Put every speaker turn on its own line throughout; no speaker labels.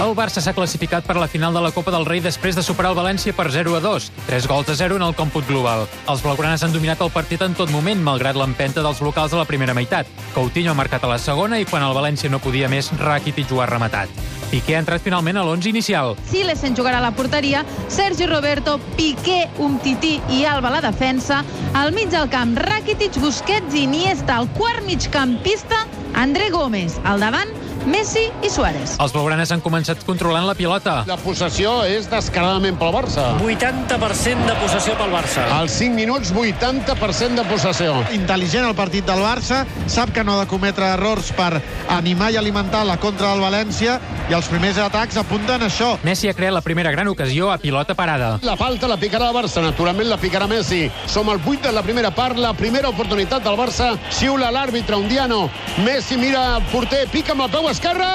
El Barça s'ha classificat per la final de la Copa del Rei després de superar el València per 0 a 2, 3 gols a 0 en el còmput global. Els blaugranes han dominat el partit en tot moment, malgrat l'empenta dels locals a la primera meitat. Coutinho ha marcat a la segona i quan el València no podia més, Rakitic ho ha rematat. Piqué ha entrat finalment a l'11 inicial.
Silesen jugarà a la porteria, Sergi Roberto, Piqué, Umtiti i Alba a la defensa, al mig del camp Rakitic, Busquets i Iniesta, al quart migcampista André Gómez, al davant Messi i Suárez.
Els blaugranes han començat controlant la pilota.
La possessió és descaradament pel Barça.
80% de possessió pel Barça.
Als 5 minuts, 80% de possessió.
Intel·ligent el partit del Barça, sap que no ha de cometre errors per animar i alimentar la contra del València i els primers atacs apunten a això.
Messi ha creat la primera gran ocasió a pilota parada.
La falta la picarà el Barça, naturalment la picarà Messi. Som al 8 de la primera part, la primera oportunitat del Barça. Xiula l'àrbitre, un diano. Messi mira el porter, pica amb el peu esquerre,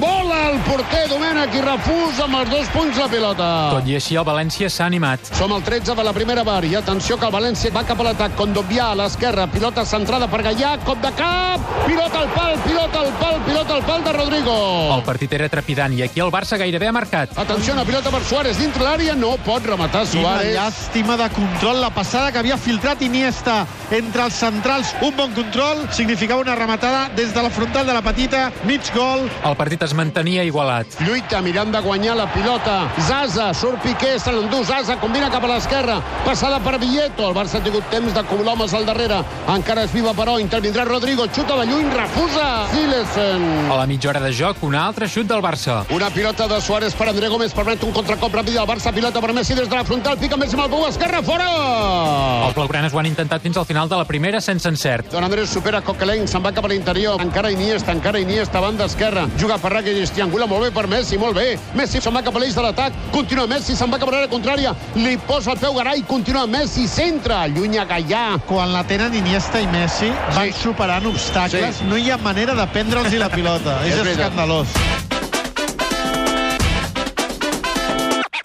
vola el porter Domènech i refusa amb els dos punts la pilota.
Tot i així, el València s'ha animat.
Som al 13 de la primera bar i atenció que el València va cap a l'atac. Condobià a l'esquerra, pilota centrada per Gallà, cop de cap, pilota al pal, pilota al pal, pilota al pal de Rodrigo.
El partit era trepidant i aquí el Barça gairebé ha marcat.
Atenció, una pilota per Suárez dintre l'àrea, no pot rematar
Quina
Suárez.
llàstima de control la passada que havia filtrat Iniesta entre els centrals. Un bon control significava una rematada des de la frontal de la petita, mig gol.
El partit es mantenia igualat.
Lluita mirant de guanyar la pilota. Zaza, surt Piqué, se l'endú Zaza, combina cap a l'esquerra. Passada per Villeto. El Barça ha tingut temps d'acumular homes al darrere. Encara és viva, però intervindrà Rodrigo. Xuta de lluny, refusa. Silesen.
A la mitja hora de joc, un altre xut del Barça.
Una pilota de Suárez per André Gómez permet un contracop ràpid del Barça. Pilota per Messi des de la frontal. Pica Messi amb el peu esquerre. Fora!
Els blaugranes ho han intentat fins al final de la primera sense encert.
Don Andrés supera Coquelin, se'n va cap a l'interior. Encara Iniesta, encara Iniesta, banda esquerra. Juga per Rakitic, triangula molt bé per Messi, molt bé. Messi se'n va cap a l'eix de l'atac. Continua Messi, se'n va cap a l'àrea contrària. Li posa el peu Garay, continua Messi, centra. Llunya Gallà.
Quan la tenen Iniesta i Messi, van
Sí.
superant obstacles.
Sí.
No hi ha manera de prendre'ls la pilota.
És
és
veritat.
escandalós.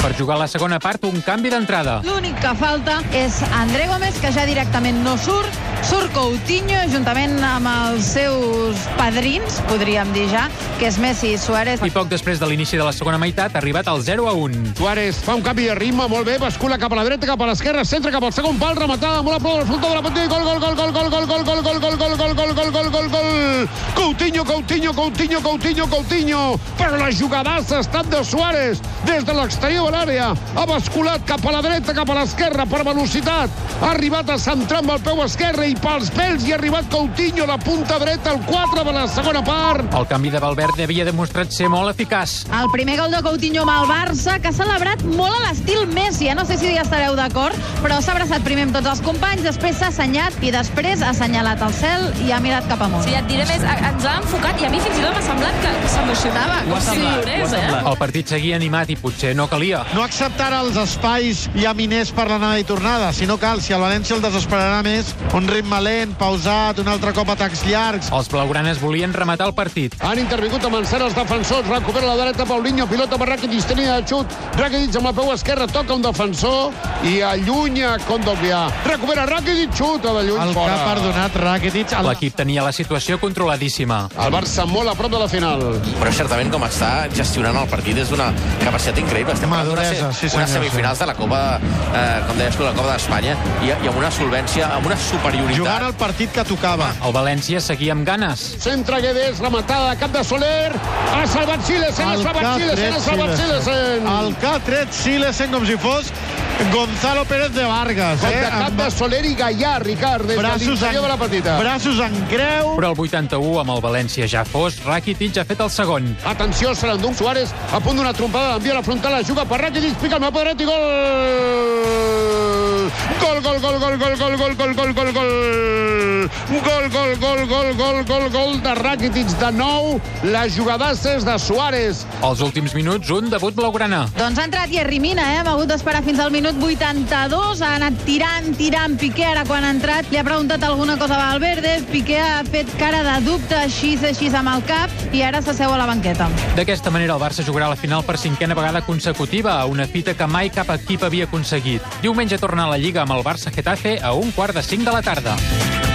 Per jugar a la segona part, un canvi d'entrada.
L'únic que falta és André Gómez, que ja directament no surt, surt Coutinho, juntament amb els seus padrins, podríem dir ja, que és Messi i Suárez.
I poc després de l'inici de la segona meitat, ha arribat al 0 a 1.
Suárez fa un canvi de ritme, molt bé, bascula cap a la dreta, cap a l'esquerra, centra cap al segon pal, rematada molt a prop del frontó de la partida, i gol, gol, gol, gol, gol, gol, gol, gol, gol, gol, gol, gol, gol, gol, gol, gol, gol, Coutinho, Coutinho, Coutinho, Coutinho, Coutinho, però la jugadassa ha estat de Suárez, des de l'exterior de l'àrea, ha basculat cap a la dreta, cap a l'esquerra, per velocitat, ha arribat a centrar amb el peu esquerre i pels pèls hi ha arribat Coutinho, la punta dreta, el 4 de la segona part,
El canvi de Valverde havia demostrat ser molt eficaç.
El primer gol de Coutinho amb el Barça, que ha celebrat molt a l'estil Messi. eh? No sé si ja estareu d'acord, però s'ha abraçat primer amb tots els companys, després s'ha assenyat i després ha assenyalat al cel i ha mirat cap amunt.
Sí, et diré més, a- ens ha enfocat i a mi fins i tot m'ha semblat que s'emocionava, com si plorés, eh?
El partit seguia animat i potser no calia.
No acceptar els espais i aminers per l'anada i tornada, si no cal, si el València el desesperarà més, un ritme lent, pausat, un altre cop atacs llargs.
Els blaugranes volien rematar el partit.
Han intervingut amb encert els defensors. Recupera la dreta Paulinho, pilota per Rakitic, tenia de xut. Rakitic amb el peu esquerre toca un defensor i allunya Condobià. Recupera Rakitic, xuta de lluny
El que
fora.
ha perdonat Rakitic... El...
L'equip tenia la situació controladíssima.
El Barça molt a prop de la final.
Però certament com està gestionant el partit és d'una capacitat increïble. Estem parlant d'una
Maduresa,
se-
sí, senyor,
unes semifinals de la Copa, eh, com deies tu, la Copa d'Espanya, i, i amb una solvència, amb una
Jugant
superioritat.
el partit que tocava.
El València seguia amb ganes.
Centre Guedes, rematada, cap de Soler. Ha salvat Silesen, ha
El que
salvat
ha
Silesen,
tret
ha salvat eh?
Silesen.
Silesen.
El que ha tret Silesen com si fos Gonzalo Pérez de Vargas.
Cop
Eh?
de cap de Soler i Gaià, Ricard, des de
braços, en,
l'interior de la petita.
braços en creu.
Però el 81, amb el València ja fos, Rakitic ha fet el segon.
Atenció, se l'endú Suárez, a punt d'una trompada, envia la frontal, la juga per Rakitic, pica el meu pedret i gol! Gol, gol, gol, gol, gol, gol, gol, gol, gol, gol, gol, gol. Gol, gol, gol, gol, gol, gol, gol de Rakitic de nou. Les jugadasses de Suárez.
Als últims minuts, un debut blaugrana.
Doncs ha entrat Yerry Mina, eh? hem hagut d'esperar fins al minut 82, ha anat tirant, tirant Piqué, ara quan ha entrat li ha preguntat alguna cosa a Valverde, Piqué ha fet cara de dubte així, així amb el cap i ara s'asseu a la banqueta.
D'aquesta manera, el Barça jugarà la final per cinquena vegada consecutiva, una fita que mai cap equip havia aconseguit. Diumenge torna a la Lliga amb el Barça-Getafe a un quart de cinc de la tarda.